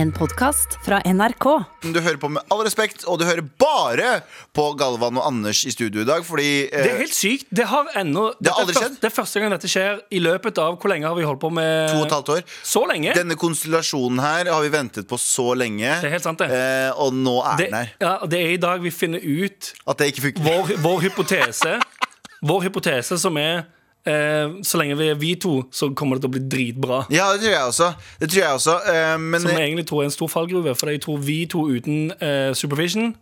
En podkast fra NRK. Du hører på med all respekt, og du hører bare på Galvan og Anders i studio i dag, fordi eh, Det er helt sykt. Det har ennå Det har dette er aldri først- skjedd? Det er første gang dette skjer i løpet av Hvor lenge har vi holdt på med to og et halvt år. Så lenge? Denne konstellasjonen her har vi ventet på så lenge. Det er helt sant, det. Eh, og nå er det, den her. ja, og det er i dag vi finner ut At det ikke funker. vår, vår hypotese. Vår hypotese som er eh, Så lenge vi er vi to, så kommer det til å bli dritbra. Ja, det tror jeg også. Det tror jeg også. Eh, men Som jeg egentlig tror er en stor fallgruve. For jeg tror vi to uten eh, supervision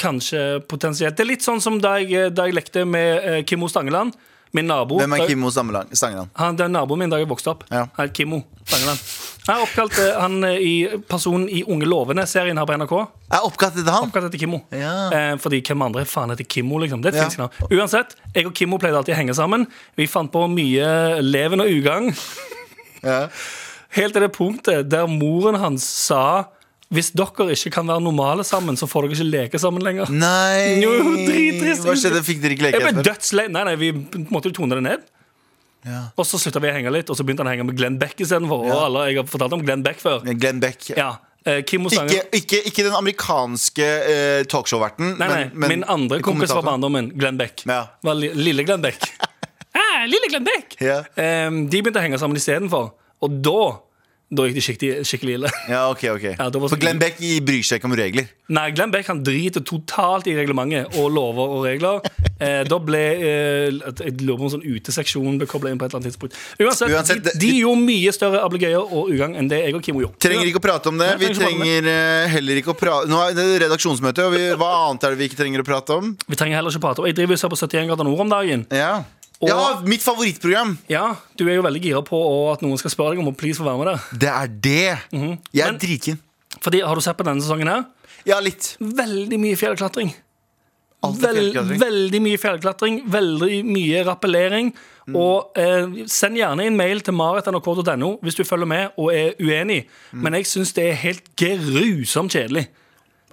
Kanskje potensielt Det er litt sånn som da jeg, da jeg lekte med eh, Kimmo Stangeland, min nabo. hvem Da- er Kimmo Stangeland? Stangeland? Han, det er naboen min da jeg vokste opp. Ja. Her, Kimmo Stangeland. Jeg har oppkalt eh, han eh, i personen i Unge lovende-serien her på NRK. Er oppkalt etter han? Oppkalt etter Kimmo. Ja. Eh, fordi hvem andre faen heter Kimmo, liksom? Det er et Ja. finsk navn. Uansett, jeg og Kimmo pleide alltid å henge sammen. Vi fant på mye leven og ugagn. Ja. Helt til det punktet der moren hans sa hvis dere ikke kan være normale sammen, så får dere ikke leke sammen lenger. Nei Jo, drittrist. Hva skjedde? Fikk dere ikke leke Jeg ble etterpå? dødslei. Nei, nei, vi måtte jo tone det ned. Ja. Og så slutta vi å henge litt, og så begynte han å henge med Glenn Beck istedenfor. Og Ja. alle, jeg har fortalt om Glenn Beck før. Glenn Beck. Ja, eh, Kim og Ikke, Stange ikke, ikke den amerikanske eh, talkshow-verten. Nei, nei, men- men- min andre kompis fra kommentatoren. barndommen, Glenn Beck. Ja. Var li lille Glenn Beck. ah, lille Glenn Beck! Ja. Eh, de begynte å henge sammen istedenfor. Og da, da gikk det skikkelig, skikkelig ille. Ja, ok, ok Ja, det var For så- Glenn Beck bryr seg ikke om regler. Nei, Glenn Beck han driter totalt i reglementet og lover og regler. Eh, da ble eh, Jeg lurer på om sånn uteseksjon ble kobla inn på et eller annet tidspunkt. Uansett, Uansett, de, det- de gjorde mye større ablegøyer og ugagn enn det jeg og Kimmo gjorde. Trenger ikke å prate om det. Nei, Vi trenger ikke å prate om trenger eh, heller ikke å prate Nå er det redaksjonsmøte, og vi, hva annet er det vi ikke trenger å prate om? Vi trenger heller ikke prate. Og jeg driver og ser på 71 grader nord om dagen. Ja, ja mitt favorittprogram! Ja, du er jo veldig gira på at noen skal spørre deg om å please få være med der. Det er det! Jeg er Mhm. Men- dritkeen. Fordi, har du sett på denne sesongen her? Ja, litt. Veldig mye fjellklatring. Alt er fjellklatring. veldig mye fjellklatring, veldig mye rappellering. Mm. Og eh, send gjerne en mail til marit.nrk.no hvis du følger med og er Mm. uenig. Men jeg syns det er helt grusomt kjedelig.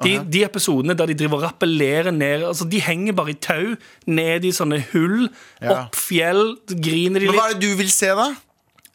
De, de episodene der de driver og rappellerer ned altså De henger bare i tau, ned i sånne hull, Ja. opp fjell, griner de Men litt. hva er det du vil se, da?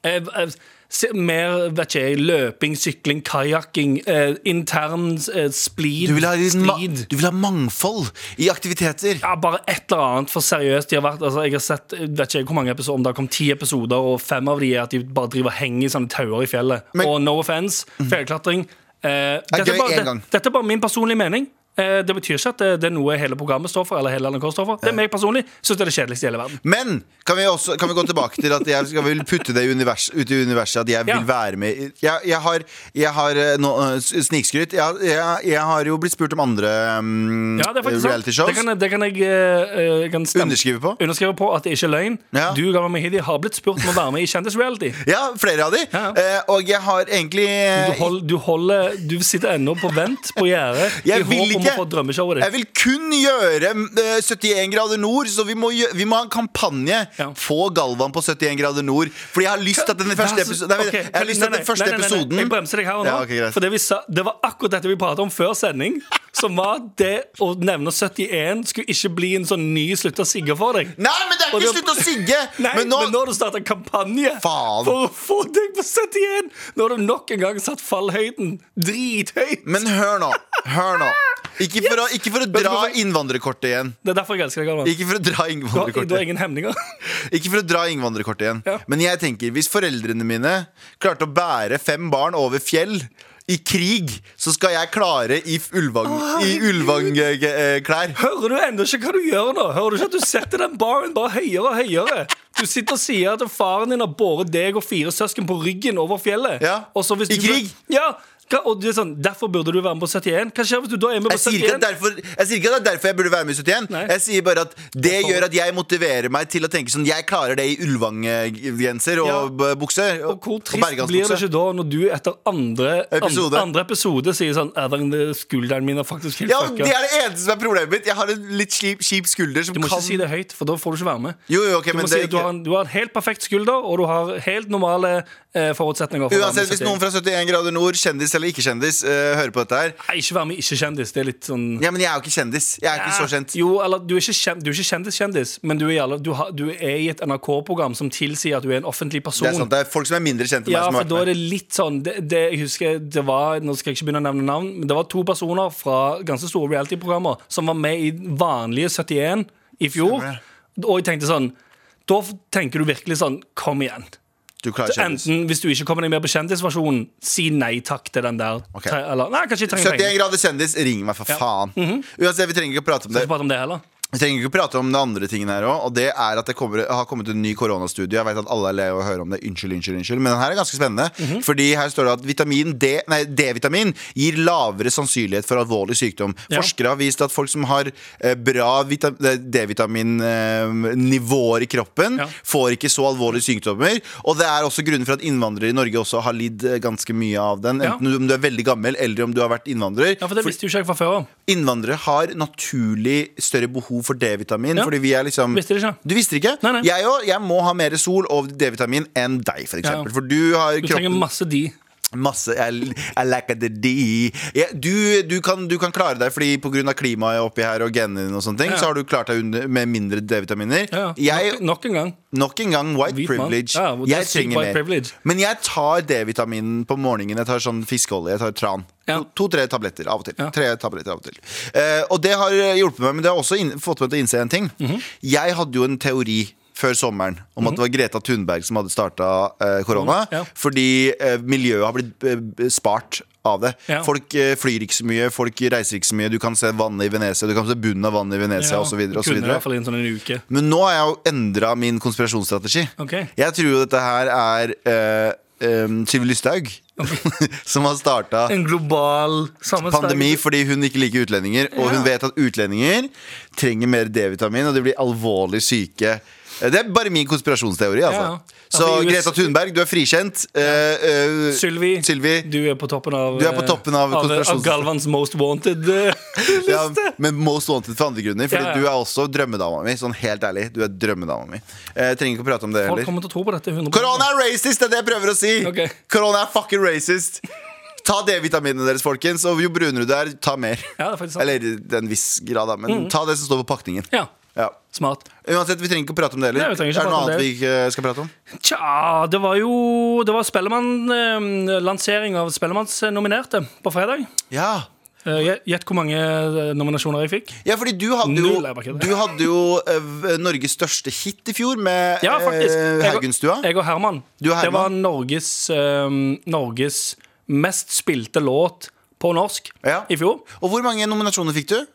Eh, eh, se- mer vet ikke jeg, løping, sykling, kajakking, eh, intern eh, splid. Du vil, ha litt ma strid. du vil ha mangfold i aktiviteter. Ja, bare et eller annet, for seriøst. De har vært, altså, jeg har sett eh, vet ikke jeg hvor mange episoder, om det har kommet ti episoder, og fem av de er at de bare driver og henger i sånne tauer i fjellet. Men- Mhm. og no offense, fjellklatring. Eh, gøy dette, er en bare, gang. det, dette er bare min personlige mening. Eh, det betyr ikke at det, det er noe hele programmet står for, eller hele NRK står for. Det er meg personlig. Syns det er det kjedeligste i hele verden. Men kan vi, også, kan vi gå tilbake til at jeg skal, vil putte det i univers, ut i universet at jeg vil Ja. være med i- Jeg, jeg har, jeg har eh, nå, eh, s- snikskryt. Jeg, jeg, jeg har jo blitt spurt om andre mm, Ja, det er faktisk sant. reality shows. Det kan, jeg- det kan jeg, eh, jeg kan stemme. Underskrive på. Underskrive på at det ikke er løgn. Ja. Du Gavan Mahidi, har blitt spurt om å være med i Kjendisreality. Ja, flere av de. Ja. Eh, og jeg har egentlig Du, hold, du, holder, du sitter ennå på vent på gjerdet i eh, jeg vil håp om å ikke få drømmeshowet Jeg ditt. vil kun gjøre eh, 71 grader nord, så vi må, gjø- vi må ha en kampanje. Ja. Få Galvan på 71 grader nord. Fordi jeg har lyst til at den første, Vær så- episo- nei, vent, Ok, jeg har lyst til at nei, den nei, første nei, nei, nei, nei. episoden Jeg bremser deg her og nå. Ja, ok, greit. for det, vi sa, det var akkurat dette vi pratet om før sending. Som var det å nevne 71 skulle ikke bli en sånn ny slutt å sigge for deg. Nei, men det er Og ikke det- slutt å sigge! Nei, men nå, har du starta kampanje Faen. for å få deg på 71! Nå har du nok en gang satt fallhøyden drithøyt. Men hør nå. Hør nå. Ikke for å, ikke for å du dra hvorfor- innvandrerkortet igjen. Det er derfor jeg elsker deg, Galvan. Ikke for å dra Du har, du har innvandrerkortet ingen hemninger. Ikke for å dra innvandrerkortet igjen. Ja. Men jeg tenker, hvis foreldrene mine klarte å bære fem barn over fjell i krig, så skal jeg klare i f- ulvang- i eh, ulvangklær. Hører du ennå ikke hva du gjør nå? Hører du ikke at du setter den baren bare høyere og høyere? Du sitter og sier at faren din har båret deg og fire søsken på ryggen over fjellet. Ja, Og så i hvis du- krig. Ja, hva- og det er sånn, Derfor burde du være med på 71. Hva skjer hvis du da er med på Jeg sier, ikke at 71? derfor, jeg sier ikke at det er derfor jeg burde være med i 71. Nei. Jeg sier bare at det Hvorfor? gjør at jeg motiverer meg til å tenke sånn Jeg klarer det i ulvanggenser og Ja. b- bukse. Og hvor trist blir det ikke da når du etter andre an- Episode. andre episode sier sånn "Ja, den Skulderen min er faktisk helt Ja, fucka. Det er det eneste som er problemet mitt. Jeg har en litt kjip, kjip skulder som Du må kan ikke si det høyt, for da får du ikke være med. Jo, jo, ok, Du men må si det- at du har, en, du har en helt perfekt skulder, og du har helt normale eh, forutsetninger. For å være med Uansett, i hvis noen 71. fra 71 grader nord, kjendis kjendis eller ikke kjendis eh, hører på dette her Nei, ikke vær med ikke-kjendis. Det er litt sånn Ah, Ja, men jeg er jo ikke kjendis. Jeg er ikke så kjent. Jo, eller du er ikke kjen- du er ikke kjendis-kjendis, men du er, i alle, du, har, du er i et NRK-program som tilsier at du er en offentlig person. Det er sant, det er folk som er mindre kjente enn Ja, meg, for som da har er det vært med. litt sånn det, det, Jeg husker det var Nå skal jeg ikke begynne å nevne navn, men det var to personer fra ganske store reality-programmer som var med i vanlige 71 i fjor. Stemmer Og jeg tenkte sånn Da f- tenker du virkelig sånn Kom igjen. Du klarer kjendis. Enten hvis du ikke kommer deg mer på kjendisversjonen, si nei takk til den der. Ok. Tre, eller, nei, kanskje jeg trenger 71 penger. grader kjendis, ring meg, for faen. Mhm. Uansett, vi trenger ikke å prate om Skal det. ikke prate om det heller. Vi trenger ikke prate om det andre tingen her òg, og det er at det kommer, har kommet en ny koronastudie. Jeg vet at alle er lei av å høre om det. Unnskyld, unnskyld, unnskyld. Men den her er ganske spennende. Mhm. Fordi her står det at vitamin D, nei, D-vitamin gir lavere sannsynlighet for alvorlig sykdom. Ja. Forskere har vist at folk som har eh, bra D-vitaminnivåer eh, i kroppen, Ja. får ikke så alvorlige sykdommer. Og det er også grunnen for at innvandrere i Norge også har lidd eh, ganske mye av den. Ja. Enten om du er veldig gammel, eller om du har vært innvandrer. Ja, for det For- visste jo ikke jeg fra før av. Innvandrere har naturlig større behov for D-vitamin. Ja. Fordi vi er liksom Visste det ikke. Du visste det ikke? Nei, nei. Jeg òg. Jeg må ha mer sol og D-vitamin enn deg, for Ja, ja. eksempel. For du har Du trenger kroppen masse de. masse I, I like the D. Ja, du, du, kan, du kan klare deg fordi pga. klimaet oppi her og genene dine og sånne ting, Ja. så har du klart deg under, med mindre D-vitaminer. Ja, ja. Jeg nok, nok en gang. Nok en gang white Hvit mann. privilege. Ja, det er jeg sykt trenger white mer. privilege. Men jeg tar D-vitaminen på morgenen. Jeg tar sånn fiskeolje, jeg tar tran. Ja. To-tre tabletter av og til. Ja. Tre tabletter av og til. Eh, og det har eh, hjulpet meg, men det har også inn, fått meg til å innse en ting. Mhm. Jeg hadde jo en teori før sommeren om at det var Greta Thunberg som hadde starta korona. Ja. Fordi eh, miljøet har blitt eh, b- spart av det. Ja. Folk eh, flyr ikke så mye, folk reiser ikke så mye. Du kan se vannet i Venezia, du kan se bunnen av vannet i Venezia osv. kunne i hvert fall i en sånn en uke. Men nå har jeg jo endra min konspirasjonsstrategi. Ok. Jeg tror jo dette her er uh, Sylvi Lysthaug som har starta En global sammensverg. pandemi fordi hun ikke liker utlendinger. Og hun Ja. vet at utlendinger trenger mer D-vitamin, og de blir alvorlig syke. Eh, Det er bare min konspirasjonsteori. Altså. Ja, ja. Så Altså, i US- Greta Thunberg, du er frikjent. Eh, eh, Sylvi, Sylvi. du er på toppen av eh, Du er på toppen av av, konspirasjons- Galvans Most Wanted. eh, Ja, men most wanted for andre grunner. Fordi Ja, ja. du er også drømmedama mi. Sånn helt ærlig, du er drømmedama mi. Eh, trenger ikke å prate om det Folk heller. kommer til å tro på dette. 100%. Korona er racist, det er det jeg prøver å si! Ok. Korona er fucking racist! Ta D-vitaminene deres, folkens, og jo brunere du er, ta mer. Ja, det er faktisk sant. Eller i en viss grad, da, Mm. men ta det som står på pakningen. Ja, Ja. smart. Uansett, vi trenger ikke å prate om det heller. Nei, vi trenger er det ikke noe prate om annet vi det. ikke eh, skal prate om? Tja, det var jo Det var Spellemann-lansering av Spellemannsnominerte på fredag. Ja, Eh, gj- Gjett hvor mange eh, nominasjoner jeg fikk. ja fordi du hadde jo, Null, jeg bare kødder. du hadde jo eh, v- Norges største hit i fjor med Ja, faktisk. eh, Jeg og- Haugenstua. Jeg og Herman. Du og Herman. Det var Norges, eh, Norges mest spilte låt på norsk Ja. i fjor. Og hvor mange nominasjoner fikk du?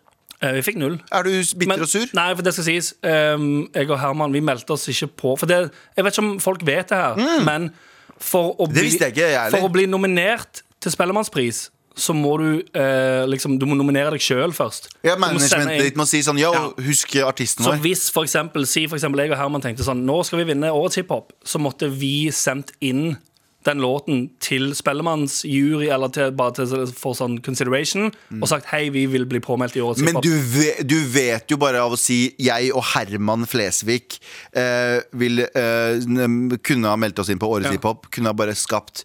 Eh, Vi fikk null. Er du bitter og sur? Nei, for det skal sies. ehm, jeg og Herman vi meldte oss ikke på. For det, jeg vet ikke om folk vet det her, men for å, bli, Mm. visste jeg ikke, jeg heller. for å bli nominert til Spellemannspris, så må du eh, liksom Du må nominere deg sjøl først. Ja, Du må sende Managementet inn- ditt må si sånn Yo, Ja. husk artisten så vår. hvis for eksempel, si for eksempel jeg og Herman tenkte sånn Nå skal vi vinne årets hiphop Så måtte vi sendt inn den låten til Spellemanns jury Eller til, bare til, for sånn consideration Og sagt hei, vi vil bli påmeldt i årets Mm. Men hiphop du vet, du vet jo bare av å si 'jeg og Herman Flesvig' eh, vil eh, n- kunne ha meldt oss inn på Årets Ja. hiphop. Kunne ha bare skapt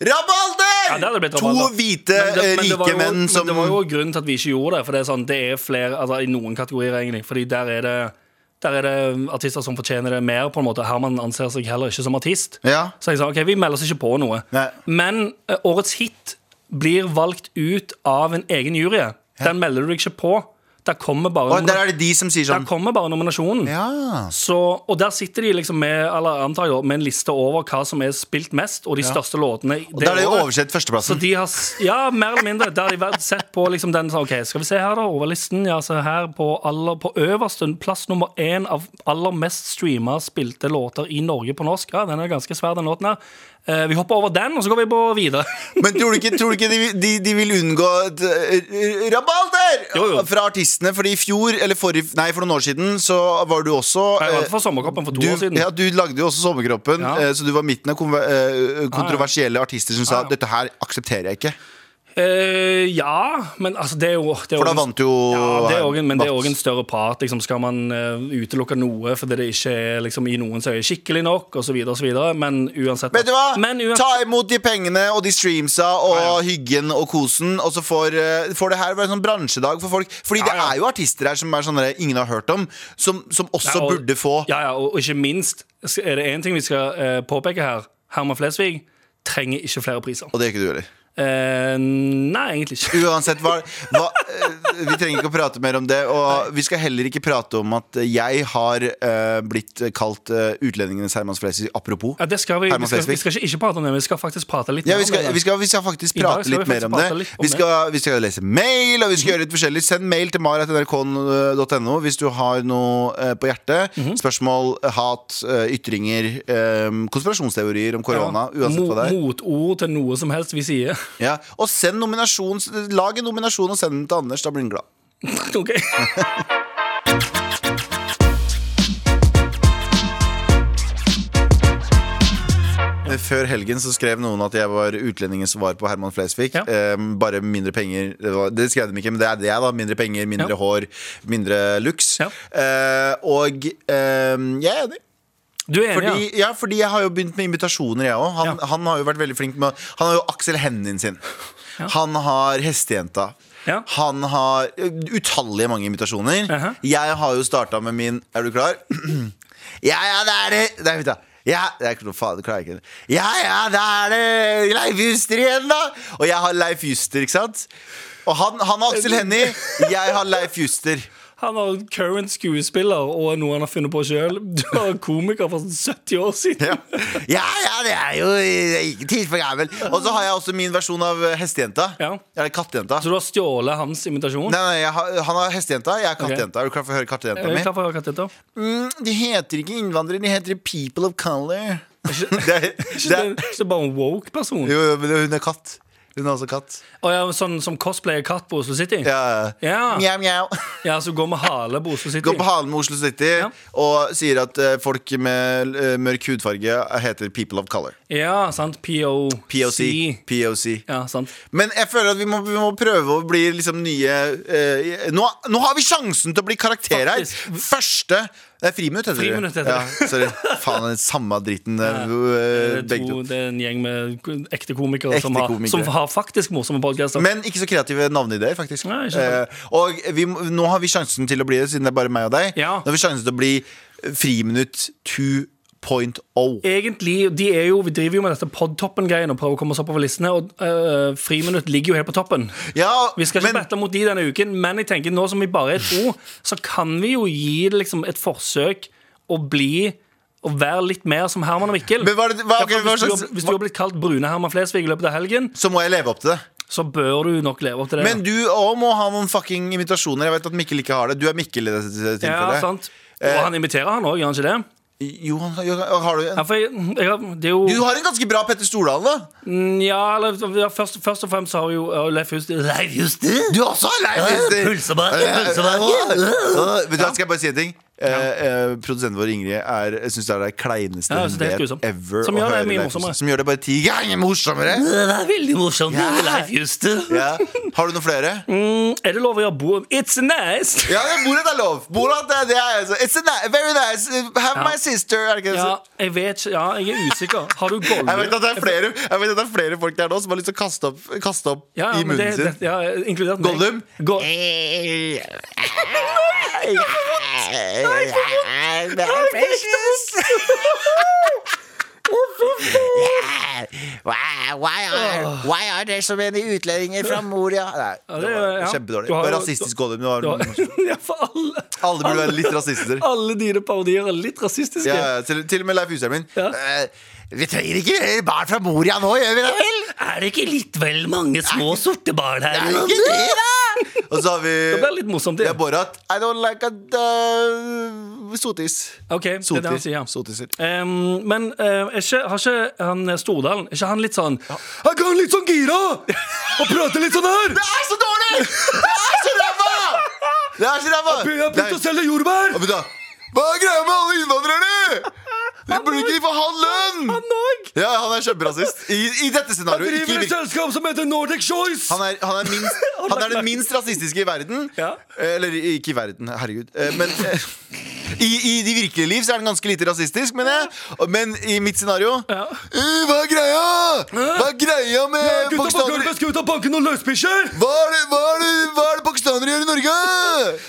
Ja, det hadde Rabalder! blitt to rabalder. hvite, Men det- eh, men det var rike jo- menn som Men det var jo grunnen til at vi ikke gjorde det For det er sånn, det er flere, altså i noen kategorier egentlig Fordi der er det der er det um, artister som fortjener det mer på en måte Herman anser seg heller ikke som artist Ja. Så jeg sa, ok, vi melder oss ikke på noe Nei. Men eh, årets hit blir valgt ut av en egen jury Den melder du deg ikke på Der kommer bare, Og nomina- der er det de som sier der sånn kommer bare nominasjonen Ja. så, og der sitter de liksom med, eller antar jeg, med en liste over hva som er spilt mest Og de største låtene det Der er det året. oversett Så førsteplassen. de har, s- ja, mer eller mindre Der har de vært- sett på liksom den sånn, Ok, skal vi se her da, over listen Ja, så her på, aller, på øverste plass nummer én Av aller mest streama spilte låter i Norge på norsk Ja, den er ganske svær den låten her eh, Vi hopper over den, og så går vi på videre Men tror du ikke, tror du ikke de, de, de vil unngå et, eh, rabalder Jo, jo. fra artistene? Fordi i fjor, eller forrige, nei, for noen år siden, så var du også Jeg var eh, for sommerkoppen for to du, år siden Ja, du lagde jo også Sommerkroppen, Ja. eh, så du var midten av konver- eh, kontroversielle artister som sa Ja, ja. dette her aksepterer jeg ikke. Eh, ja, men altså, det er jo det er For da også en- vant jo Ja, det er også en, men det er Mats. òg en større part. Liksom, skal man eh, utelukke noe fordi det ikke er liksom, i noens øye skikkelig nok, osv., osv.? Men uansett Vet du hva? Men uansett Ta imot de pengene og de streamsa og hyggen og kosen, og så får, eh, får det her være en sånn bransjedag for folk. Fordi det Ja, ja. er jo artister her som er sånne der ingen har hørt om, som, som også Ja, og- burde få Ja, ja, og og ikke minst sk- er det én ting vi skal eh, påpeke her. Herman Flesvig trenger ikke flere priser. Og det gjør ikke du heller. Eh, nei, egentlig ikke. Uansett hva, hva eh, Vi trenger ikke å prate mer om det. Og vi skal heller ikke prate om at jeg har eh, blitt kalt eh, utlendingenes Herman Flesvig. Apropos. Ja, det skal vi, vi, Herman skal, Flesvig. vi skal ikke, ikke prate om det, men vi skal faktisk prate litt Ja, vi mer om skal, det. vi, skal, vi skal faktisk I dag prate skal vi litt mer faktisk om det. prate litt om Vi skal, vi skal lese mail, og vi skal gjøre litt forskjellig. Send mail til mar.nrk.no hvis du har noe eh, på hjertet. Mhm. Spørsmål, hat, eh, ytringer, eh, konspirasjonsteorier om korona. Uansett hva det er. Motord til noe som helst vi sier. Ja. Og send nominasjon, lag en nominasjon og send den til Anders. Da blir han glad. Ok Eh, Før helgen så skrev noen at jeg var utlendingen som var på Herman Flesvig. Ja. Eh, bare mindre penger. Det, var, det skrev de ikke, men det er det, da. Mindre penger, mindre Ja. hår, mindre looks. Ja. Eh, og eh, jeg er enig. Du er enig, Fordi, ja? ja, fordi jeg har jo begynt med invitasjoner, jeg òg. Han, Ja. han har jo vært veldig flink med å- Han har jo Aksel Hennin sin. Han har Hestejenta. Ja. Han har ø, utallige mange invitasjoner. Aha. Jeg har jo starta med min Er du klar? ja, ja, det er det! Nei, vent da. Ja, jeg, klo- faen, det klarer jeg ikke. Ja, ja, det er det Leif Juster igjen, da! Og jeg har Leif Juster, ikke sant? Og han, han har Aksel Hennie, jeg har Leif Juster. Han var current skuespiller og noe han har funnet på sjøl. Du var komiker for sånn 70 år Ja. siden. ja, ja, det er jo det er ikke tid for gammel. Og så har jeg også min versjon av eh, hestejenta. Ja. Eller kattejenta. Så du har stjålet hans invitasjon? Nei, nei, jeg har, han har hestejenta, jeg har kattejenta. Er du klar for å høre kattejenta Er du mi? klar for å høre hva det heter? Mm, de heter ikke innvandrere, de heter people of color. det er, Ikke det det- er, ikke det bare en woke person? jo, jo, men hun er katt. Hun er også katt. Å, ja, sånn som cosplayer katt på Oslo City? Ja. Ja, Mjau, mjau. ja så går med hale på Oslo City. Går på halen med Oslo City Ja. og sier at eh, folk med eh, mørk hudfarge heter people of color. Ja, sant. POC. POC. POC. Ja, sant. Men jeg føler at vi må, vi må prøve å bli liksom nye eh, nå, nå har vi sjansen til å bli karakter her! Faktisk. Første Det er friminutt, heter Friminutt heter det. det. Ja, sorry. Faen, den samme driten. eh, Det er, begge to, to. det er en gjeng med ko- ekte komikere, Ekte som, har, komikere. som har faktisk morsomme podkaster. Men ikke så kreative navneideer, faktisk. Nei, ikke sant. Eh, og vi, må- nå har vi sjansen til å bli det, siden det er bare meg og deg. Ja. Nå har vi sjansen til å bli Friminutt oh. 2.0. Egentlig, de er jo, Vi driver jo med dette podtoppen-greien og prøver å komme oss oppover listene. Og øh, Friminutt ligger jo helt på toppen. Ja, Vi skal ikke men- battle mot de denne uken, men jeg tenker nå som vi bare er to, så kan vi jo gi det liksom et forsøk å bli Å være litt mer som Herman og Mikkel. Men hva er det- hva- Ja, for ok, hva hvis, du, slags- har- hvis du har blitt kalt Brune Herman Flesvig i løpet av helgen, så må jeg leve opp til det. så bør du nok leve opp til det. Men du òg må ha noen fucking invitasjoner. Jeg vet at Mikkel ikke har det. Du er Mikkel i dette tilfellet. ja, altså, sant. Og han imiterer han òg, gjør han ikke det? Jo, han- jo, har du en? Ja, for jeg, jeg, har- det er jo Du har en ganske bra Petter Stordalen, da. Mm, Ja, eller ja, først, først og fremst så har jo ja, Leif Juster Leif Juster! Du er også har Leif Hester. Pølsebakke, Vet du hva, skal jeg bare si en ting? Eh, eh, produsenten vår Ingrid er, jeg synes det er det kleineste Ja, jeg hun synes det er helt vet grusomt. ever. Som å gjør det høre mye Leif Hester. morsommere. Som gjør det bare ti ganger morsommere. Det er veldig morsomt. Ja. Leif Juster. Ja. Har du noen flere? Er det lov å gjøre bo... It's nice! Ja, det er bordet er lov. Bordet er det er altså. It's a ni- very nice. Have my sister. Er det ikke det? Ja, så- Altså, jeg vet ikke. Ja, jeg er usikker. Har du Jeg vet, golvmur? at det er flere, jeg vet at det er flere folk der nå som har lyst til å kaste opp, kaste opp Ja, ja, i men munnen det, sin. det, ja, inkludert meg. Gollum? Go Why, why, are, why are there so many utlendinger fra Moria? Nei, det det var er- ja. kjempedårlig. Du har Det var jo- rasistisk Gollum. Det Det var- var, ja, for alle, alle burde være litt rasister. alle dine parodier er litt rasistiske. Ja, ja, til, til og med Leif Husheim min. Ja. Eh, vi trenger ikke flere barn fra Moria nå, gjør vi det vel? Er det ikke litt vel mange små sorte barn her? Er det ikke det, da? Og så har vi Det blir litt morsomt. Det Det. er Borat. I don't like a uh, sotis. Ok, det er det han sier. Sotiser. Ehm, men eh, er ikke, har ikke han eh, Stordalen Er ikke han litt sånn Er ikke han litt sånn gira? Og prater litt sånn her? Det er så dårlig! Det er så ræva! Det er så ræva! Jeg har begynt å selge jordbær! Nei, men da, Hva er greia med alle innvandrerne? Vi burde ikke få han lønn! Han òg! Ja, han er kjemperasist. I, i dette Han scenarioet. driver Ikke i et virke- selskap som heter Nordic Choice! han er, han, er minst, han er den minst rasistiske i verden. Ja. Eh, Eller ikke i verden, herregud. Eh, Men eh, i, i de virkelige liv så er den ganske lite rasistisk, mener jeg. Og- Men i mitt scenario Ja. «Eh, Hva er greia? Hva er greia med Gutta på pakistanere? gulvet skal ut av banken og løsbikkjer! Hva er, det, hva, er det, hva er det pakistanere gjør i Norge?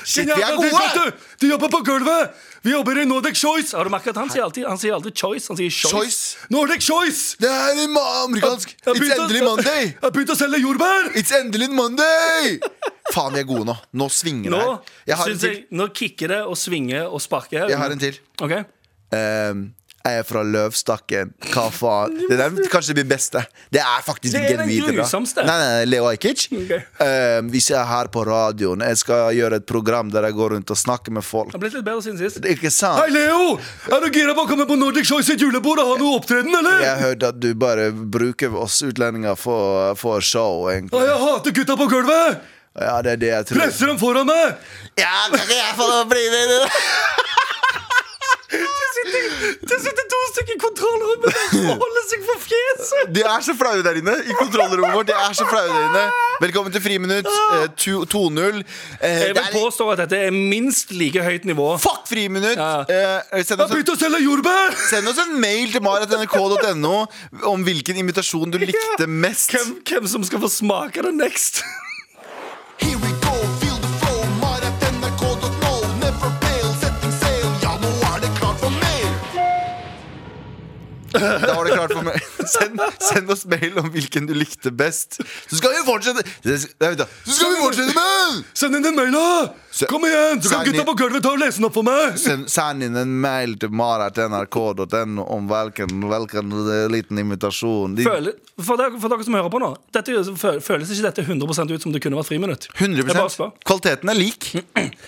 Shit, vi er Genialt, vet gode! du! De jobber på gulvet! Vi jobber i Nordic Choice! Har du merket at Han sier alltid, han sier aldri choice, han sier choice. Choice. Nordic Choice! Det er en ma- amerikansk Jeg It's begynte- endelig Monday! Jeg har begynt å selge jordbær! It's endelig Monday! Faen, vi er gode nå. Nå svinger det Nå, her. Jeg har en synes til. jeg, nå kikker det og svinger og sparker. Jeg har en til. Ok, Ehm, jeg er fra Løvstakken. Hva faen? Det der er kanskje min beste. Det er faktisk Det er den genuint bra. grusomste. Nei, nei, nei, Leo Ajkic. Ok. Ehm, hvis jeg er her på radioen, jeg skal gjøre et program der jeg går rundt og snakker med folk. det har blitt litt bedre siden sist. Det er Ikke Hei, sant? Leo! Er du gira på å komme på Nordic Choice sitt julebord og ha noe opptreden, eller? Jeg hørte at du bare bruker oss utlendinger for, for show, Å, egentlig. jeg hater gutta på gulvet! Ja, det er det jeg tror. Presser dem foran meg! Ja, kanskje jeg får bli med i det. Det sitter to stykker i kontrollrommet og holder seg for fjeset! De er så flaue der inne i kontrollrommet vårt. De er så flaue der inne Velkommen til Friminutt eh, to- 2-0. Eh, Jeg det vil er- påstå at dette er minst like høyt nivå. Fuck Friminutt! Ja. Eh, send, Jeg har oss en, begynt å selge jordbær! send oss en mail til maratnrk.no om hvilken invitasjon du likte mest. Hvem, hvem som skal få smake det next? Here we go, feel the flow, maratnrk.no. Never fail, setting sail. Ja, nå er det klart for mail! Da var det klart for mail. Send, send oss mail om hvilken du likte best. Så skal vi fortsette Nei, vent da. Så skal vi fortsette med Send inn en mail, da! Se- Kom igjen! Så kan Send gutta inn- på gulvet ta og lese den opp for meg! Send, send inn en mail til maratnrk.no om hvilken, hvilken liten invitasjon. De, Føle, for, dere, for dere som hører på nå, dette, fø- føles ikke dette 100 ut som det kunne vært friminutt? Jeg bare 100 spør. Kvaliteten er lik.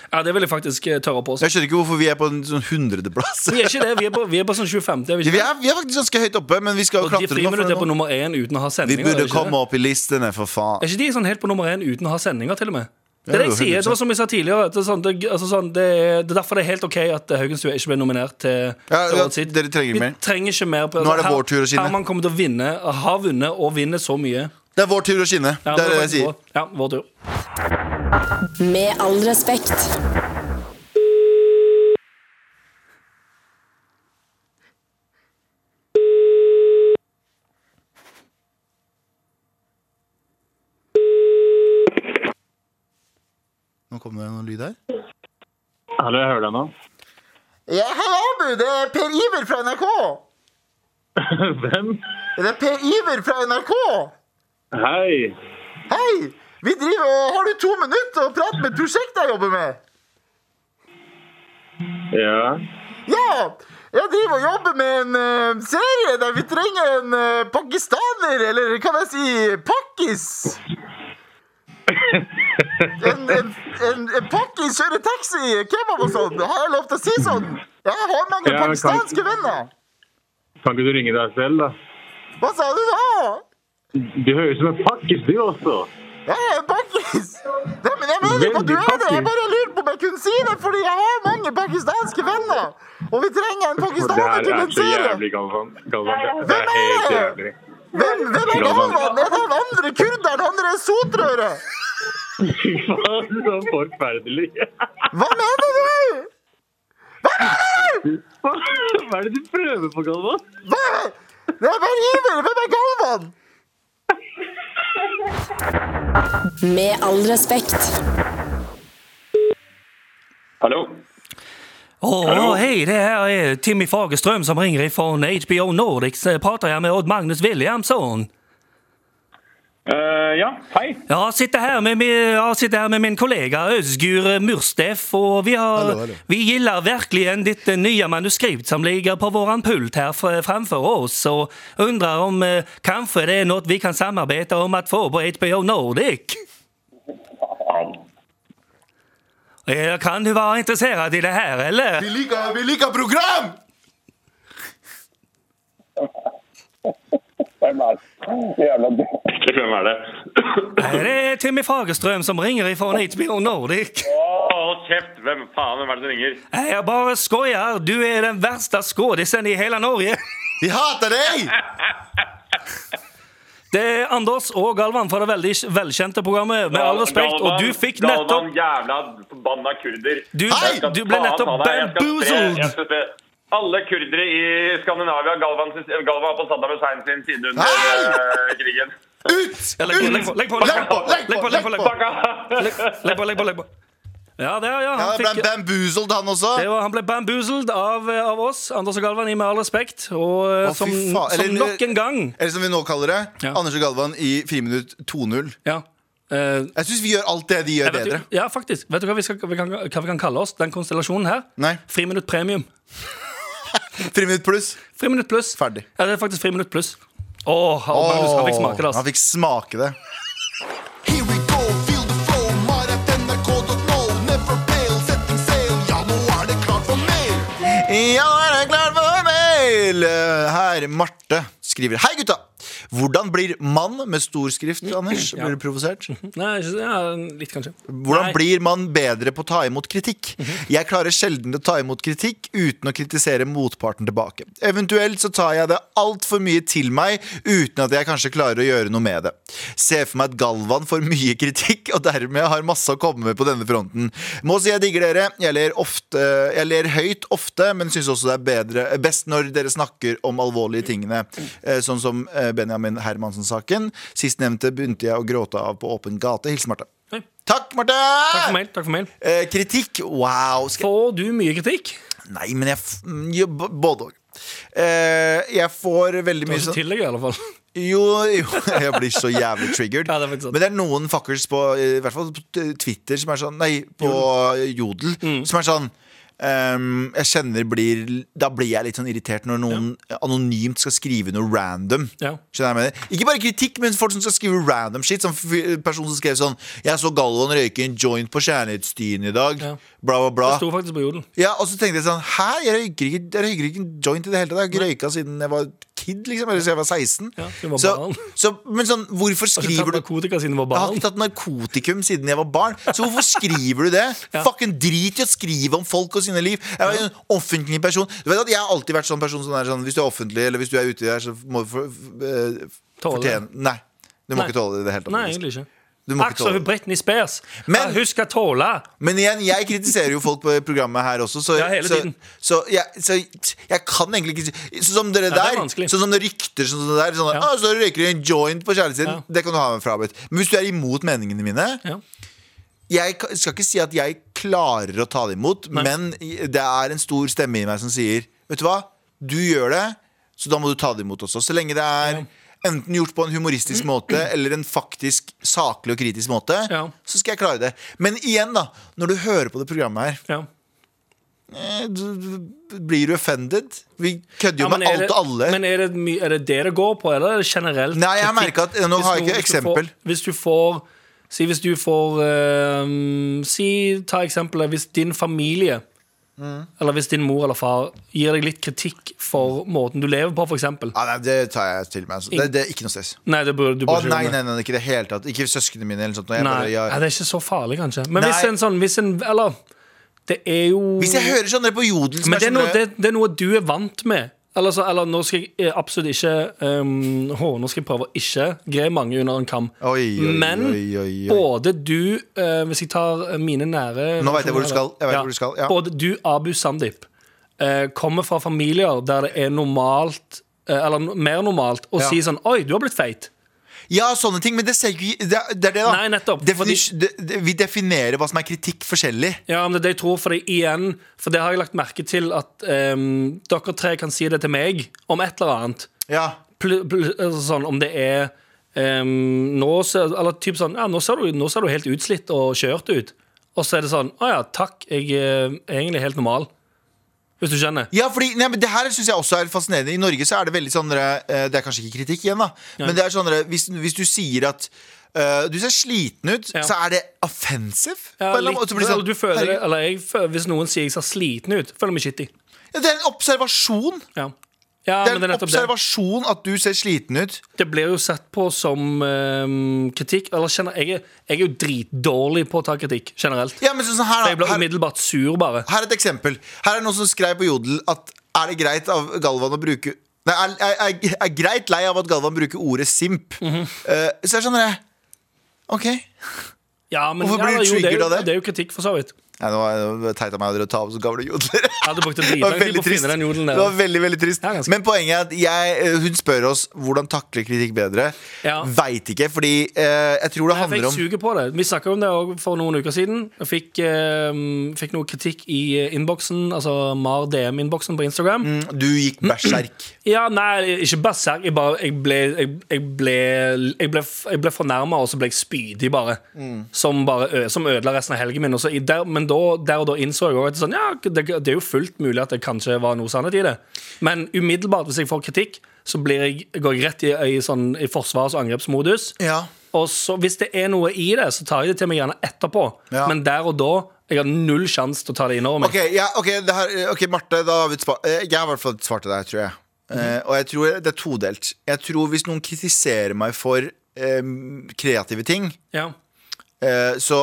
Ja, det vil jeg faktisk eh, tørre å påstå. Jeg skjønner ikke hvorfor vi er på en sånn hundredeplass. Vi er ikke det, vi er på, vi er på sånn 25. Det er vi Vi ikke. er, vi er faktisk ganske høyt oppe, men vi skal jo Og de klatre nå. friminutt er For på nå. nummer én uten å ha Vi sendinger. er burde det ikke komme det? opp i listene, for faen. Er ikke de sånn helt på nummer én uten å ha sendinger, til og med? Ja, Det er det jeg jo, sier, det var som jeg sa tidligere. Det er, sånn, det, altså sånn, det, er, det er derfor det er helt OK at eh, Haugenstua ikke ble nominert til Ja, til ja, årets hit. dere trenger Vi mer. trenger ikke mer. På, Nå er det vår tur å skinne. Herman kommer til å vinne, har vunnet og vinner så mye. Det er vår tur å skinne. Ja, det er det jeg faktisk sier. vår- Ja, vår tur. Med all respekt. Nå kom det noen lyd her. Hallo, jeg hører deg nå. Ja, hei, Abu. Det er Per Iver fra NRK. Hvem? Det er Per Iver fra NRK. Hei. Hei. Vi driver og Har du to minutter å prate med et prosjekt jeg jobber med? Ja. Ja, jeg driver og jobber med en eh, serie der vi trenger en eh, pakistaner, eller kan jeg si pakkis? En, en, en, en pakkis kjører taxi, kebab og sånn. Har jeg lov til å si sånn? Jeg har mange Ja, men kan- pakistanske venner. Kan ikke du ringe deg selv, da? Hva sa du da? Du høres ut som en pakkis, du også. Jeg er en pakkis. Nei, men jeg mener ikke at du er det. Jeg bare lurer på om jeg kunne si det, fordi jeg har mange pakistanske venner. Og vi trenger en Det her pakistaner til er en så serie. jævlig, Galvan. Galvan. Det er helt jævlig. Hvem, hvem er Galvan. Galvan? Er det han andre kurderen? Han der sotrøret? Fy faen, så forferdelig. Hva mener du? Hva hva er det du prøver på, Galvan? Hva? Det er bare Iver! Hvem er Galvan? Med all respekt. Hallo. Å, hei, det her er Timmy Fagerstrøm som ringer fra HBO Nordics. Eh, Prater jeg med Odd Magnus Williamson? Eh, ja, hei. Ja, sitter her med min, ja, sitter her med min kollega Özgur Mursteff, og vi har Hallo, hallo. Vi gillar verkligen ditt eh, nya manuskript som ligger på våran pult här fr- framför oss och undrar om eh, kanske det är något vi kan samarbeta om att få på HBO Nordic. Eh, Kan du vara intresserad i det här eller? Vi liker, vi liker program! Hvem er det? Jævla Hvem er det? Her er Timmy Fagerstrøm som ringer ifra HBO Nordic. Å, hold kjeft! Hvem faen, hvem er det som ringer? Jeg er bare skoier. Du er den verste skådisen i hele Norge. Vi hater deg! Det er Anders og Galvan fra det veldig velkjente programmet Med all respekt, og du fikk Galvan, nettopp jævla forbanna kurder. Du, Hei! Jeg skal du ble faen nettopp ta deg. Jeg skal spre- jeg bamboozled! skal spre- Alle kurdere i Skandinavia Galvan, Galvan var på Saddam Hussein sin side under Hei! eh, krigen. Ut! Ja, legg på, legg på, legg på, Legg på! Legg på! Legg på! Fuck off! Legg på, legg på, legg på. Ja, det, ja, Ja, han, det ble fikk, bamboozled, han også. det var, han ble bamboozled av, av oss, Anders og Galvan, i Med all respekt. Og eh, Å, fy som, faen. Eller- som nok en gang Eller som vi nå kaller det, Ja. Anders og Galvan i Friminutt 2.0. Ja. Eh, Jeg syns vi gjør alt det de gjør, jeg vet jo, bedre. ja, faktisk. Vet du hva vi, skal, vi kan, hva vi kan kalle oss? Den konstellasjonen her? Nei. Friminutt premium. Friminutt pluss. Friminutt pluss. Ferdig. Ja, det er faktisk Friminutt pluss. Åh, han, han fikk smake det, Han altså. fikk smake det. Here we go, feel the flow, marathon.nrk.no. Never fail, setting sail. Ja, nå er det klart for mail. Ja, nå er jeg klar for mail! Her, Marte skriver Hei, gutta! Hvordan blir mann med stor skrift, Mm. Anders? Blir du provosert? Nei, ikke, ja, litt, kanskje. Hvordan Nei. blir man bedre på å ta imot kritikk? Jeg klarer sjelden å ta imot kritikk uten å kritisere motparten tilbake. Eventuelt så tar jeg det altfor mye til meg uten at jeg kanskje klarer å gjøre noe med det. Ser for meg at Galvan får mye kritikk og dermed har masse å komme med på denne fronten. Må si jeg digger dere. Jeg ler, ofte, jeg ler høyt ofte, men syns også det er bedre, best når dere snakker om alvorlige tingene. Eh, Sånn som eh, Benjamin Hermansen-saken. Sistnevnte begynte jeg å gråte av på åpen gate. Hils Marte. Hei. Takk, Marte! Takk for mail. takk for mail Eh, kritikk? Wow. Skal... Får du mye kritikk? Nei, men jeg f... mm, jo, b- Både og. Eh, jeg får veldig mye Ikke sånn Altså, til deg, i alle fall. Jo, jo, jeg blir så jævlig triggered. Ja, det er faktisk sant. Men det er noen fuckers på i hvert fall på t- Twitter som er sånn Nei, på Jodel. Mm. Som er sånn ehm, jeg kjenner blir Da blir jeg litt sånn irritert når noen anonymt skal skrive noe random. Ja. Skjønner jeg hva jeg mener? Ikke bare kritikk, men folk som skal skrive random shit. Som f- person som skrev sånn Jeg så Galvan røyke en joint på kjærlighetsstien i dag. Ja. Bla, bla, bla. Det sto faktisk på jorden. Ja, og så tenkte jeg sånn Hæ, jeg røyker ikke, jeg røyker ikke en joint i det hele tatt. Jeg har ikke røyka siden jeg var kid, liksom. Eller siden jeg var 16. Ja, du var så, barn. så, men sånn, hvorfor Har ikke skriver tatt du narkotika siden du var jeg har barn. ikke tatt narkotikum siden jeg var barn. Så hvorfor skriver du det? Ja. Fucking drit i å skrive om folk og sine liv. Jeg var en offentlig person. Du vet at Jeg har alltid vært sånn person som er sånn Hvis du er offentlig, eller hvis du er ute der, så må du for, eh, Tåle. fortjene Nei. Du må Nei. ikke tåle det i det hele tatt. Nei, faktisk. egentlig ikke. Du må ikke Aksel tåle og det. Britney Spears. Men- Men hun skal tåle. Men igjen, jeg kritiserer jo folk på programmet her også, så, Ja, hele så, tiden. så, jeg, så jeg kan egentlig ikke si- Sånn som dere det er der, vanskelig. sånn som det rykter sånn som det der. Sånn, Ja. «Å, Så røyker du en joint på kjærlighetssiden. Ja. Det kan du ha meg frabedt. Men hvis du er imot meningene mine Ja. Jeg ka- skal ikke si at jeg klarer å ta det imot, Nei. men i- det er en stor stemme i meg som sier Vet du hva, du gjør det, så da må du ta det imot også. Så lenge det er Enten gjort på en humoristisk måte eller en faktisk saklig og kritisk måte. Ja. Så skal jeg klare det. Men igjen, da. Når du hører på det programmet her, Ja. Eh, du- du- du- Blir du offended? Vi kødder jo Ja, men med er alt det- og alle. Men er det, my- er det det det går på, eller er det generelt? Nei, jeg kritikk? merker at- eh, nå Hvis har jeg noen- ikke hvis du eksempel. får- Hvis du får Si hvis du får eh, Si, ta eksempelet Hvis din familie Mm. Eller hvis din mor eller far Gir deg litt kritikk for måten du lever på, for eksempel ja, nei, det tar jeg til meg. altså. Det, det er ikke noe stress. Nei, det burde du Å burde ikke nei, gjøre det. nei, nei, ikke i det hele tatt. Ikke søsknene mine. eller sånt jeg Nei, bare, ja, jeg, det er ikke så farlig, kanskje. Men hvis Nei. en sånn hvis en, Eller, det er jo Hvis jeg hører sånne på Jodel som Men det er, noe, sånne- det, det er noe du er vant med. Eller, så, eller nå skal jeg eh, absolutt ikke um, Hå, nå skal jeg prøve å ikke gre mange under en kam. Oi, oi, Men oi, oi, oi. både du eh, Hvis jeg tar eh, mine nære Nå vet jeg hvor du relasjoner, skal. Jeg vet ja, hvor du skal, ja. Både du, Abu Sandeep, eh, kommer fra familier der det er normalt eh, Eller no- mer normalt å Ja. si sånn Oi, du har blitt feit. Ja, sånne ting. Men det, ser ikke, det, er- det er det, da. Nei, nettopp, Definis- det- det- vi definerer hva som er kritikk, forskjellig. Ja, men det er det jeg tror, for det igjen For det har jeg lagt merke til at ehm, dere tre kan si det til meg om et eller annet. Ja. Pl pl altså sånn, om det er ehm, nå, ser, eller typ sånn, ja, nå, ser du, 'Nå ser du helt utslitt og kjørt ut.' Og så er det sånn 'Å ja, takk, jeg eh, er egentlig helt normal.' Hvis du skjønner? Ja, fordi, nei, men Det her syns jeg også er fascinerende. I Norge så er det veldig sånn dere, eh, Det er kanskje ikke kritikk igjen, da. Men det er sånn dere, hvis, hvis du sier at eh, du ser sliten ut, Ja. så er det offensive. Ja, på en eller litt, annen måte. Så blir det sånn, eller du føler det, herregud. eller jeg føler, Hvis noen sier jeg ser sliten ut, føler jeg meg skittig. ja, det er en observasjon. Ja. Ja, Det men er det en er nettopp det. observasjon at du ser sliten ut. Det blir jo sett på som eh, kritikk. Eller kjenner, jeg, er, jeg er jo dritdårlig på å ta kritikk generelt. Ja, men sånn som her, Jeg da. blir Her, umiddelbart sur, bare. her er et eksempel. Her er noen som skrev på Jodel at er det greit av Galvan å bruke Nei, er, er, er, er greit lei av at Galvan bruker ordet simp. Mhm. Eh, så jeg skjønner det. OK. Nei, Ja, men, Hvorfor blir ja, du jo, det er triggered jo- av det? Det er jo kritikk, for så vidt. nå er det var teit av meg å dra ta opp så gamle jodler. Jeg hadde brukt en Det var dritlang tid veldig på å trist. finne den jodelen Det var der. veldig, veldig trist Ja, ganske. Men poenget er at jeg, eh, hun spør oss hvordan takle kritikk bedre. Ja. Veit ikke, fordi eh, jeg tror det Jeg handler fikk om suge på det. Vi snakka om det også for noen uker siden. Jeg fikk, eh, fikk noe kritikk i eh, innboksen, altså Mar DM-innboksen på Instagram. Du gikk berserk. Ja, nei, ikke berserk. Jeg, bare, jeg ble, jeg, jeg ble, jeg ble, jeg ble fornærma, og så ble jeg spydig, bare. Mm. Som, bare ø- som ødela resten av helgen min. Og så, i der, men da, der og da innså jeg også at sånn, ja, det, det er jo fullt mulig at det kanskje var noe sannhet i det. Men umiddelbart, hvis jeg får kritikk, så blir jeg, går jeg rett i, i, sånn, i forsvars- og angrepsmodus. Ja. Og så, hvis det er noe i det, så tar jeg det til meg gjerne etterpå. Ja. Men der og da jeg har null sjanse til å ta det inn over meg. Ok, ja, ok, det her, eh, ok, Marte, da har vi et svar. eh, Jeg har i hvert fall et svar til deg, tror jeg. Eh, og jeg tror det er todelt. Jeg tror hvis noen kritiserer meg for eh, kreative ting, Ja. eh, så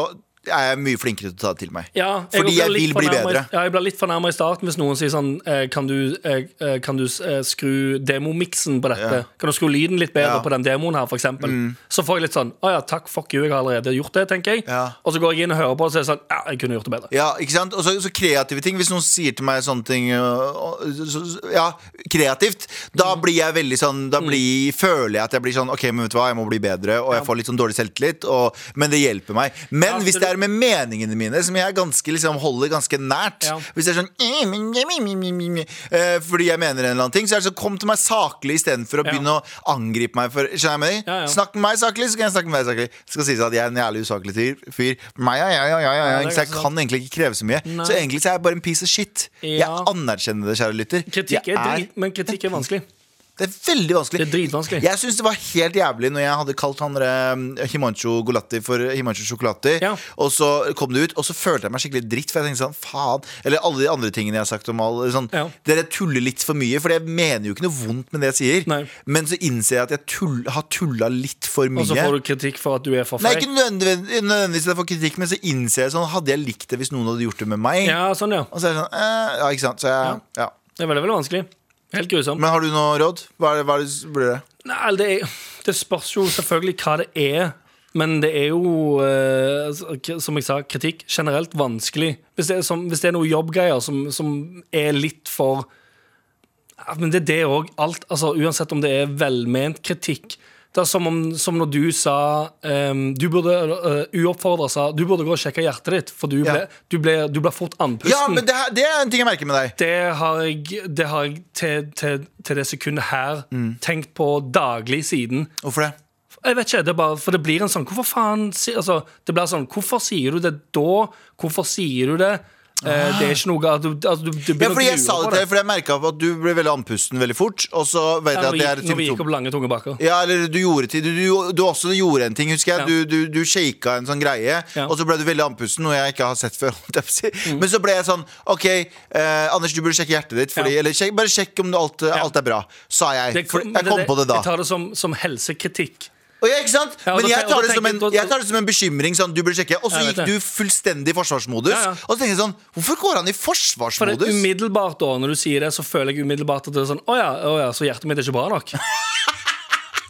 er jeg mye flinkere til å ta det til meg. Ja, Fordi blir jeg litt vil bli fornærmet i- bedre. Ja, jeg blir litt fornærma i starten hvis noen sier sånn eh, Kan du, eh, eh, kan du eh, skru demomiksen på dette? Kan du skru lyden litt Ja. Mm. bedre på den demoen her, for eksempel? Så får jeg litt sånn Å ja, takk, fuck you, jeg har allerede gjort det, tenker jeg. Ja. Og så går jeg inn og hører på, og så er det sånn Ja, jeg kunne gjort det bedre. Ja, ikke sant? Og så så kreative ting. Hvis noen sier til meg sånne ting øh, og- så, så- Ja, kreativt. Da Mm. blir jeg veldig sånn Da blir, føler jeg at jeg blir sånn Ok, men vet du hva, jeg må bli bedre, og jeg får litt sånn dårlig selvtillit, og, men det hjelper meg. Men Ja, hvis så det er med meningene mine, som jeg ganske liksom holder ganske nært Ja. Hvis det er sånn eh, men, eh, mi, mi, mi, mi, mi, eh, Fordi jeg mener en eller annen ting, så er det sånn Kom til meg saklig istedenfor å Ja. begynne å angripe meg for Skjønner jeg hva jeg mener? Ja, ja. Snakk med meg saklig, så kan jeg snakke med deg saklig. Det skal sies at jeg er en jævlig usaklig fyr. fyr. Meg, ja, ja, ja, ja, ja, Ja, ja, det er ikke sant? ganske Jeg kan egentlig ikke kreve så mye. Nei. Så egentlig så er jeg bare en piece of shit. Jeg Ja. anerkjenner det, kjære lytter. Kritikk Jeg er drit, men kritikk er vanskelig. Det er veldig vanskelig. Det er dritvanskelig. Jeg syns det var helt jævlig når jeg hadde kalt han eh, Himancho Golatti for Himancho Chocolati. Ja. Og så kom det ut, og så følte jeg meg skikkelig dritt. For jeg tenkte sånn, faen Eller alle de andre tingene jeg har sagt om all sånn, Ja. Dere tuller litt for mye, for jeg mener jo ikke noe vondt med det jeg sier. Nei. Men så innser jeg at jeg tull, har tulla litt for mye. Og så får du kritikk for at du er for Nei, feig. ikke nødvendigvis, nødvendigvis jeg får kritikk, men så innser jeg sånn Hadde jeg likt det hvis noen hadde gjort det med meg? Ja, sånn, ja. Og så er det sånn eh, Ja, ikke sant. Så jeg, ja. Det er veldig, veldig vanskelig. Helt grusom. Men har du noe råd? Hva er det, hva er det s- blir det? Nei, altså, det, er- det spørs jo selvfølgelig hva det er. Men det er jo, eh, altså, k- som jeg sa, kritikk generelt vanskelig. Hvis det er, som, hvis det er noen jobbgreier som, som er litt for ja, Men det er det òg. Alt. Altså, uansett om det er velment kritikk. Det er som, om, som når du sa ehm, Du burde uh, uoppfordra sa Du burde gå og sjekke hjertet ditt, for du Ja. ble, du ble, du ble fort andpusten. Ja, men det, her- det er en ting jeg merker med deg. Det har jeg, det har jeg til, til, til det sekundet her Mm. tenkt på daglig siden. Hvorfor det? Jeg vet ikke, det er bare, for det blir en sånn Hvorfor faen si, altså, Det blir sånn, hvorfor sier du det da? Hvorfor sier du det? Eh, det er ikke noe at du, altså, du, du Ah. Ja, begynner fordi å jeg lure sa det på til deg, fordi jeg merka at du ble veldig andpusten veldig fort. Og så vet jeg Når at vi, det er et når vi gikk symptom. opp lange tunge baker. Ja, eller du gjorde til, du, du, du også gjorde en ting, husker jeg. Ja. Du, du, du shaka en sånn greie, Ja. Mm. og så ble du veldig andpusten, noe jeg ikke har sett før. holdt jeg på å si. Men så ble jeg sånn OK, eh, Anders, du burde sjekke hjertet ditt. Fordi, Ja. Eller sjekk, bare sjekk om alt, alt er bra, sa jeg. Det- for, men jeg kom på det da. Jeg tar det som, som helsekritikk. Og ja, ikke sant? Ja, og Men da jeg tenk- tar, og da det som en, tenker- da- jeg tar det som en bekymring. Sånn, du burde sjekke Og så Jeg vet gikk det. du fullstendig i forsvarsmodus. Ja, ja. Og så tenkte jeg sånn Hvorfor går han i For det, forsvarsmodus? umiddelbart da, når du sier det, så føler jeg umiddelbart at det er sånn Å ja, å ja så hjertet mitt er ikke bra nok.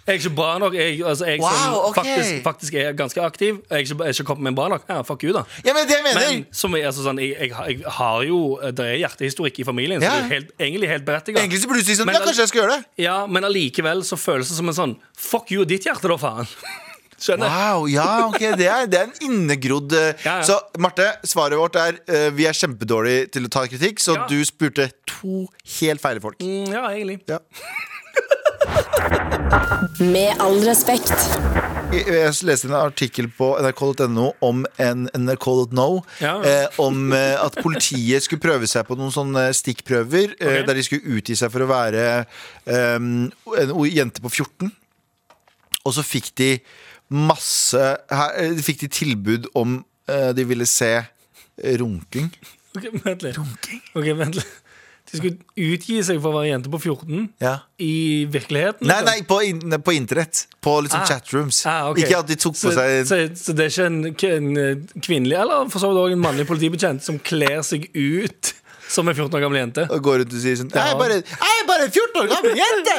Jeg er ikke bra nok. Jeg, altså, jeg som Wow, ok. faktisk, faktisk er ganske aktiv. Jeg er ikke, jeg er ikke kommet med bra nok. Ja, fuck you, da. Ja, men det jeg mener Men som er, altså, sånn, jeg, jeg, har- jeg har jo eh, Det er hjertehistorikk i familien, så Ja. det er jo helt, egentlig helt berettiget. Egentlig så burde du si sånn Men Ja, kanskje jeg skal gjøre det. Ja, men allikevel så føles det som en sånn Fuck you, ditt hjerte, da, faen. Skjønner? Wow, ja, ok, det er, det er en innegrodd eh, Ja, ja. Så Marte, svaret vårt er eh, Vi er kjempedårlige til å ta kritikk, så Ja. du spurte to helt feile folk. Mm, Ja, egentlig. Ja. Med all respekt. Jeg, jeg leste en artikkel på nrk.no om en nrk.no Ja. eh, om eh, at politiet skulle prøve seg på noen sånne stikkprøver eh, Ok. der de skulle utgi seg for å være eh, en o- jente på 14. Og så fikk de masse her, eh, Fikk de tilbud om eh, de ville se runking. Ok, vent litt. Ok, vent litt. De skulle utgi seg for å være jente på 14 Ja. i virkeligheten. Nei, liksom. nei, på, in på internett. På liksom Ah. chatrooms. Ah, ok. Ikke at de tok på så, seg så, så det er ikke en, k- en eh, kvinnelig, eller for så vidt også en mannlig politibetjent, som kler seg ut som en 14 år gammel jente? og går rundt og sier sånn Jeg er bare, jeg er bare 14 år gammel jente!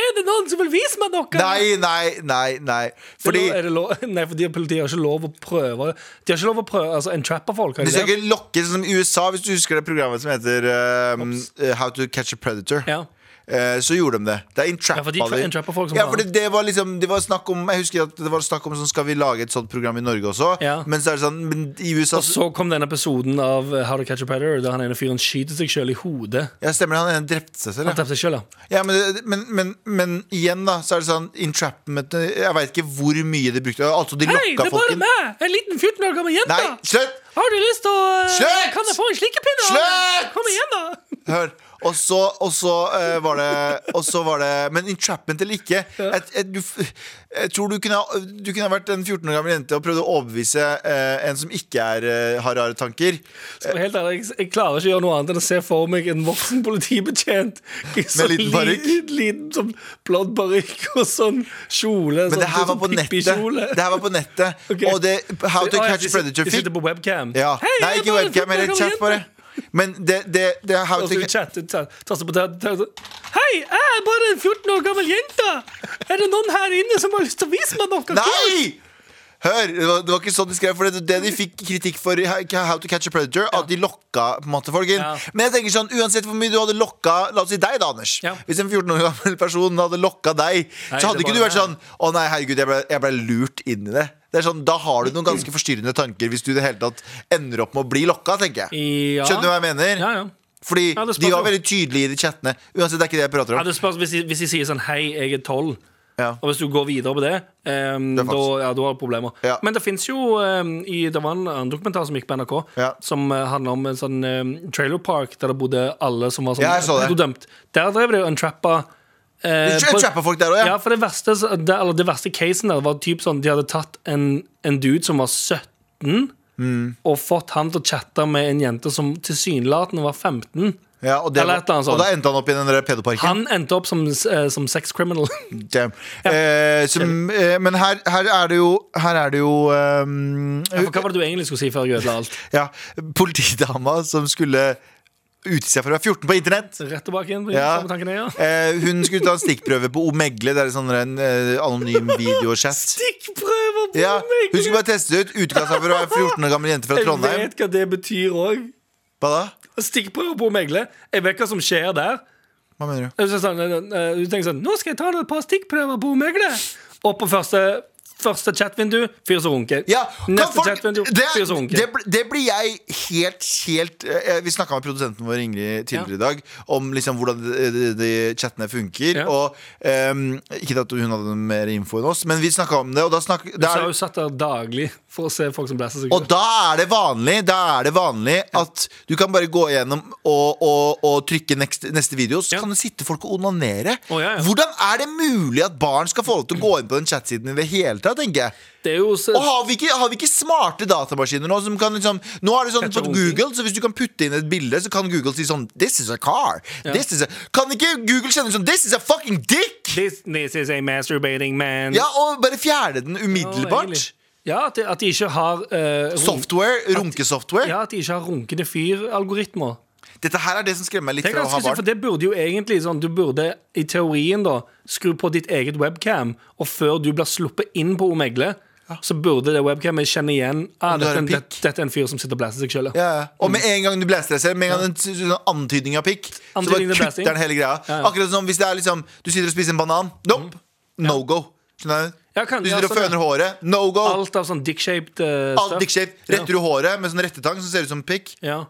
Er det noen som vil vise meg noe? nei, nei, nei. nei Fordi Fordi, er det lov, nei, fordi politiet har ikke lov å prøve De har ikke lov å prøve altså, entrappe folk. har du de skal det? ikke lokke sånn som i USA, hvis du husker det programmet som heter um, uh, How to catch a predator. Ja. Eh, Så gjorde de det. Det er Ja, for de entrappa tra- entrappa folk som Ja, faen. for det, det var liksom Det var snakk om Jeg husker at det var snakk om sånn, Skal vi lage et sånt program i Norge også? Ja. Men så er det sånn Men i USA Og så kom den episoden av eh, How to Catch a Predator, der han ene fyren skyter seg sjøl i hodet. Ja, stemmer det. Han ene drepte seg selv. Han Ja. drepte seg selv, ja. Ja, men, det- men, men, men igjen, da, så er det sånn entrapment Jeg veit ikke hvor mye de brukte. Altså, de Hei, det lokka er bare folk inn. meg! En liten 14 år gammel jente! Nei, slutt! Har du lyst til å eh, Slutt! Kan jeg få en slikkepinne? Slutt! Kom igjen, da! Hør. Og så, og så eh, var det Og så var det Men entrapment eller ikke jeg, jeg, du, f- jeg tror du kunne, ha- du kunne ha vært en 14 år gammel jente og prøvd å overbevise eh, en som ikke er, eh, har rare tanker. Skal jeg være Helt ærlig, jeg- jeg klarer ikke å gjøre noe annet enn å se for meg en voksen politibetjent i sånn liten parykk. liten, liten sånn blond parykk og sånn kjole. Men sånn, det her var sånn på nettet. pippikjole. Det her var på nettet Ok. Og det, How to Ah, ja, catch de a sit- predator De fikk sitter på webcam. ja. Hei, Nei, jeg ikke bare webcam, en eller gammel chat, bare. jente. Men det, det, det er How Og to så chatte, ta- taste på ta- ta- ta- Hei, jeg er bare en 14 år gammel jente! Er det noen her inne som har lyst til å vise meg noe? Nei! Hør, det var, det var ikke sånn de skrev. For det, det de fikk kritikk for i How to catch a predator, at de lokka på en måte folk inn. Ja. Men jeg tenker sånn, uansett hvor mye du hadde lokka La oss si deg, da, Anders. Ja. Hvis en 14 år gammel person hadde lokka deg, Nei, så hadde det ikke var du vært det. sånn Å nei, herregud, jeg ble, jeg ble lurt inn i det. Det er sånn, Da har du noen ganske forstyrrende tanker hvis du i det hele tatt ender opp med å bli lokka, tenker jeg. Ja. Skjønner du hva jeg mener? Ja, ja. Fordi Ja, det spørs de var jo. veldig tydelige i de chattene. Uansett, det er ikke det jeg prater Ja, om. det spørs hvis de, hvis de sier sånn Hei, jeg er 12 Ja. Og hvis du går videre på det, ehm, Det er da, faktisk- ja, da har du problemer. Ja. Men det fins jo ehm, i, Det var en annen dokumentar som gikk på NRK, Ja. som uh, handla om en sånn ehm, trailer park der det bodde alle som var sånn Ja, jeg så det. pedodømt. Der drev de og entrappa eh, De entrappa på- folk der også, ja. ja, for det verste, det, eller det verste casen der var typ sånn De hadde tatt en, en dude som var 17 Mm. Og fått han til å chatte med en jente som tilsynelatende var 15 Ja, og, det, Eller et eller annet og sånt. da endte han opp i den der pedoparken. Han endte opp som, eh, som sex criminal Damn. Eh, som, eh, men her, her er det jo Her er det jo ehm, Ja, for Hva var det du egentlig skulle si før jeg ødela alt? ja, Politidama som skulle utgi seg for å være 14 på internett. Rett tilbake igjen på Ja. samme tanken, ja. Eh, hun skulle ta en stikkprøve på Omegle. Det er sånn en eh, anonym videochat. Stikkprøver på Ja, meg! hun skulle bare teste ut. Utga seg for å være 14 år gammel jente fra Jeg Trondheim. vet hva det betyr òg. Hva da? Stikkprøver på megle. Jeg vet hva som skjer der. Hva mener du? Jeg synes sånn, eh, eh, Hun tenker sånn Nå skal jeg ta et par stikkprøver på megle. Og på første, første chatvindu fyr som runker. Ja, kan Neste folk, chatvindu det, fyr som runker. det, bl- det blir jeg helt, helt eh, Vi snakka med produsenten vår Ingrid tidligere Ja. i dag om liksom hvordan de, de, de chattene funker. Ja. Og ehm, Ikke at hun hadde mer info enn oss, men vi snakka om det. Og da, snakk, Så da, har er, hun satt der daglig for å se folk som blæser seg og ut. da er det vanlig Da er det vanlig at du kan bare gå igjennom og, og, og trykke next, neste video, så Ja. kan det sitte folk og onanere. Å, ja, ja. Hvordan er det mulig at barn skal få lov til å gå inn på den chatsiden i det hele tatt? tenker jeg Det er jo så, og har vi, ikke, har vi ikke smarte datamaskiner nå som kan liksom Nå er det sånn på Catcher runking. Google, så hvis du kan putte inn et bilde, så kan Google si sånn This is a car. This is a Kan ikke Google kjenne sånn This is a fucking dick! this, this is a masturbating man. Ja, og bare fjerne den Ja, umiddelbart. egentlig. Ja, at de, at de ikke har eh, runk- Software, runkesoftware. Ja, at de ikke har runkende fyr-algoritmer. Dette her er det som skremmer meg litt Det er fra å ganske ha sykt, for barn. det burde jo egentlig sånn Du burde i teorien da skru på ditt eget webcam, og før du blir sluppet inn på Omegle, så burde det webcamet kjenne igjen ah, du har dette, er en en, dette, dette er en fyr som sitter og blæser seg sjøl. Ja, ja. Og med en gang du blaster deg selv, med en gang en s- sånn antydning av pikk, så bare Antydning til kutter blasting. den hele greia. Ja, ja. Akkurat som hvis det er liksom du sitter og spiser en banan. Nope. No go. Skjønner du? Ja, kan- du ja, sitter og sånn, ja. føner håret. No go. Alt av sånn dick-shaped eh, Alt stuff. dick-shape. Retter du håret med sånn rettetang som ser ut som pikk? Ja.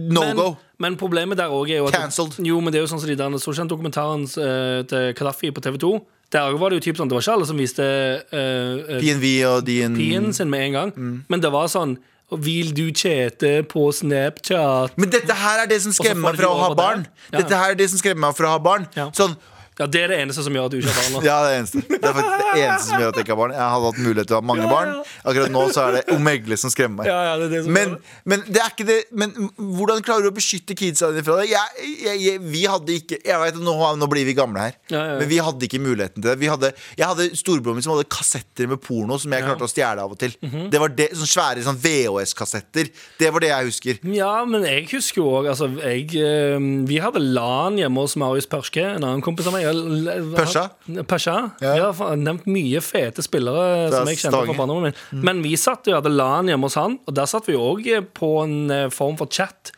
No Men, go. men problemet der også er jo at Cancelled. Jo, men det er jo sånn som de der så kjent dokumentaren eh, til Kadafi på TV2. Der var det jo typ sånn, det var ikke alle som viste eh, eh, PNV og din kopien sin med en gang. Mm. Men det var sånn Vil du chate på Snapchat? Men dette her er det som får skremmer meg de fra å ha over det. barn. Ja, ja. Dette her er det som skremmer meg fra å ha barn Ja. Sånn Ja, Det er det eneste som gjør at du ikke har barn nå. Ja, det er det eneste. Det er faktisk det eneste som gjør at jeg ikke har barn. Jeg hadde hatt mulighet til å ha mange barn. Akkurat nå så er det omegle som skremmer meg. Ja, ja, det er det som men, gjør det. men det er ikke det Men hvordan klarer du å beskytte kidsa dine fra det? Jeg, jeg, jeg, vi hadde ikke Jeg vet, at nå, nå blir vi gamle her, Ja, ja, ja. men vi hadde ikke muligheten til det. Vi hadde, jeg hadde storebroren min som hadde kassetter med porno som jeg klarte å stjele av og til. Mhm. Det var det, sånne svære sånn VHS-kassetter. Det var det jeg husker. Ja, men jeg husker jo òg altså, jeg, eh, Vi hadde LAN hjemme hos Marius Perske, en annen kompis av meg. Jeg- Persa? Persa. Ja. Jeg har fa- nevnt mye fete spillere Fra som jeg kjente fra Stavanger. Mm. barndommen min. Men vi satt jo hadde LAN hjemme hos han, og der satt vi òg på en eh, form for chat.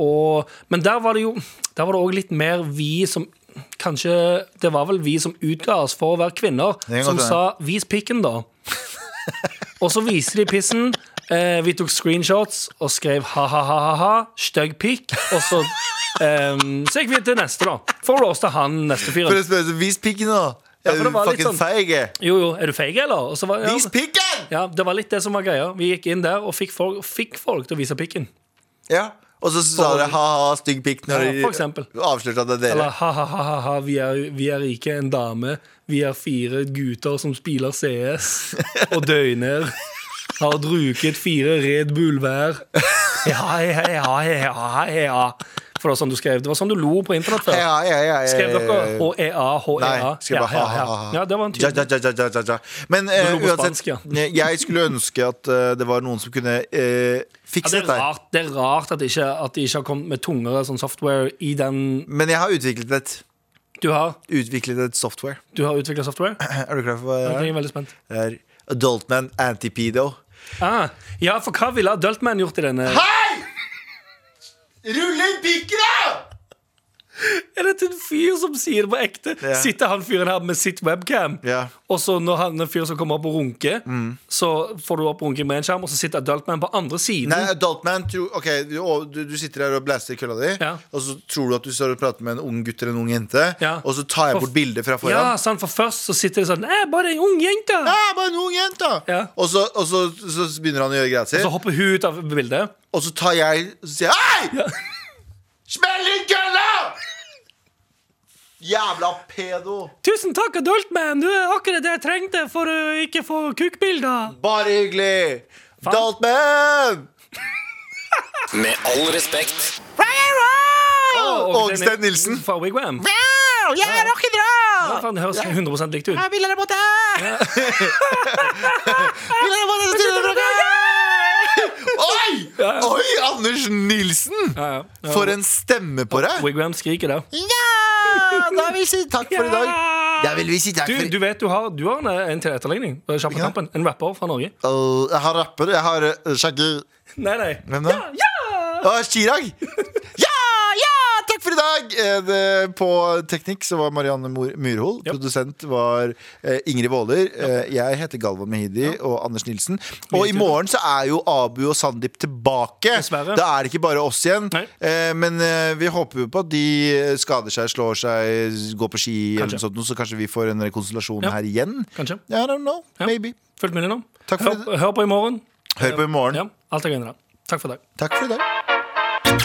Og, men der var det jo Der var det òg litt mer vi som Kanskje det var vel vi som utga oss for å være kvinner, Det kan som godt være. sa 'vis pikken', da. Og så viser de pissen. Eh, vi tok screenshots og skrev ha-ha-ha-ha, stygg pikk. Og så, ehm, så gikk vi til neste, da. For å låse til han neste For å fyren. spørre, Vis pikken, da! Ja, Er for du det var litt fucking sånn- feig? jeg? Jo, jo, er du feig, eller? Og så var, Vis ja, pikken! ja, det var litt det som var greia. Vi gikk inn der og fikk folk, fikk folk til å vise pikken. Ja, og så sa dere ha-ha, stygg pikk når Ja, for de eksempel. avslørte at det er dere. Eller ha-ha-ha-ha, vi, er- vi er ikke en dame. Vi er fire gutter som spiller CS og døgner. Har drukket fire Red Bull hver. Ja, ja, ja, ja, ja. For det var sånn du skrev. Det var sånn du lo på internett før. Ja, ja, ja, ja, Skrev dere E ja, ja. HEA, HEA? Nei, skrev bare Ja, ja, ja. ha-ha-ha. Ja, det var en ja, ja, tydelig ja, ja, ja, ja, ja. Men eh, lo på uansett, spansk, ja. jeg skulle ønske at eh, det var noen som kunne eh, ja, fikse det, er dette. her. rart, det er rart at, ikke, at de ikke har kommet med tungere sånn software i den Men jeg har utviklet et, Du har, utviklet et software. du har utvikla software? Er du klar for hva Jeg det er? er veldig spent. Det er Adultman Antipedo. Ah, ja, for hva ville Adultman gjort i denne? Hei! Rulle inn pikken, da! Er dette en fyr som sier det på ekte? Ja. Sitter han fyren her med sitt webcam? Ja. Mm. Og så når han en fyr som kommer opp og runker, så får du opp runking med en skjerm, og så sitter Adultman på andre siden. Nei, Adultman Ok, du, og du, du sitter her og blaster kølla di, Ja. og så tror du at du står og prater med en ung gutt eller en ung jente, Ja. og så tar jeg For- bort bildet fra foran. ja, sant, for først så sitter det sånn Æ, bare ei ung jente! Ja, bare en ung jente da. Ja. Og, så, og så, så begynner han å gjøre greia si Så hopper hun ut av bildet. Og så tar jeg og så sier jeg, Hei! Smell inn kølla! Jævla pedo Tusen takk, Adultman! Du er akkurat det jeg trengte for å ikke få kukkbilder. Bare hyggelig Daltman Med all respekt. Åge Steen Nilsen. Fra Wigwam. Jeg er rock'n'roll! Ja, faen, det høres 100 likt ut. Jeg vil dere måtte Vil dere måtte stille Oi! Oi, Anders Nilsen Ja, ja. Ja. For en stemme på deg Wigwam skriker der. Ja! Da vil vi si takk for i dag Da vil vi si takk Du, for du vet du har, du har en, eh, en til etterligning. Bare kjapt på Ja. tampen. En rapper fra Norge. Øh, Jeg har rapper, jeg har uh, Shaggy Nei, nei. Hvem da? Ja! Å, Chirag Ja, ja, takk for i dag Eh, det, På teknikk så var Marianne Mor- Myrhol Ja. Produsent var eh, Ingrid Våler Eh, Jeg heter Galvan Mehidi og Anders Nilsen Og i morgen så er jo Abu og Sandeep tilbake Dessverre. Da er det ikke bare oss igjen Nei. Eh, Men eh, vi håper jo på at de eh, skader seg, slår seg, går på ski eller Kanskje. noe sånt, Så kanskje vi får en rekonstellasjon Ja. her igjen Kanskje. I don't know, Ja. maybe Fulgt med innom. Takk for hør, hør på i morgen. Hør på i morgen, Ja, alt er gøy i dag. Takk for i dag. takk for i dag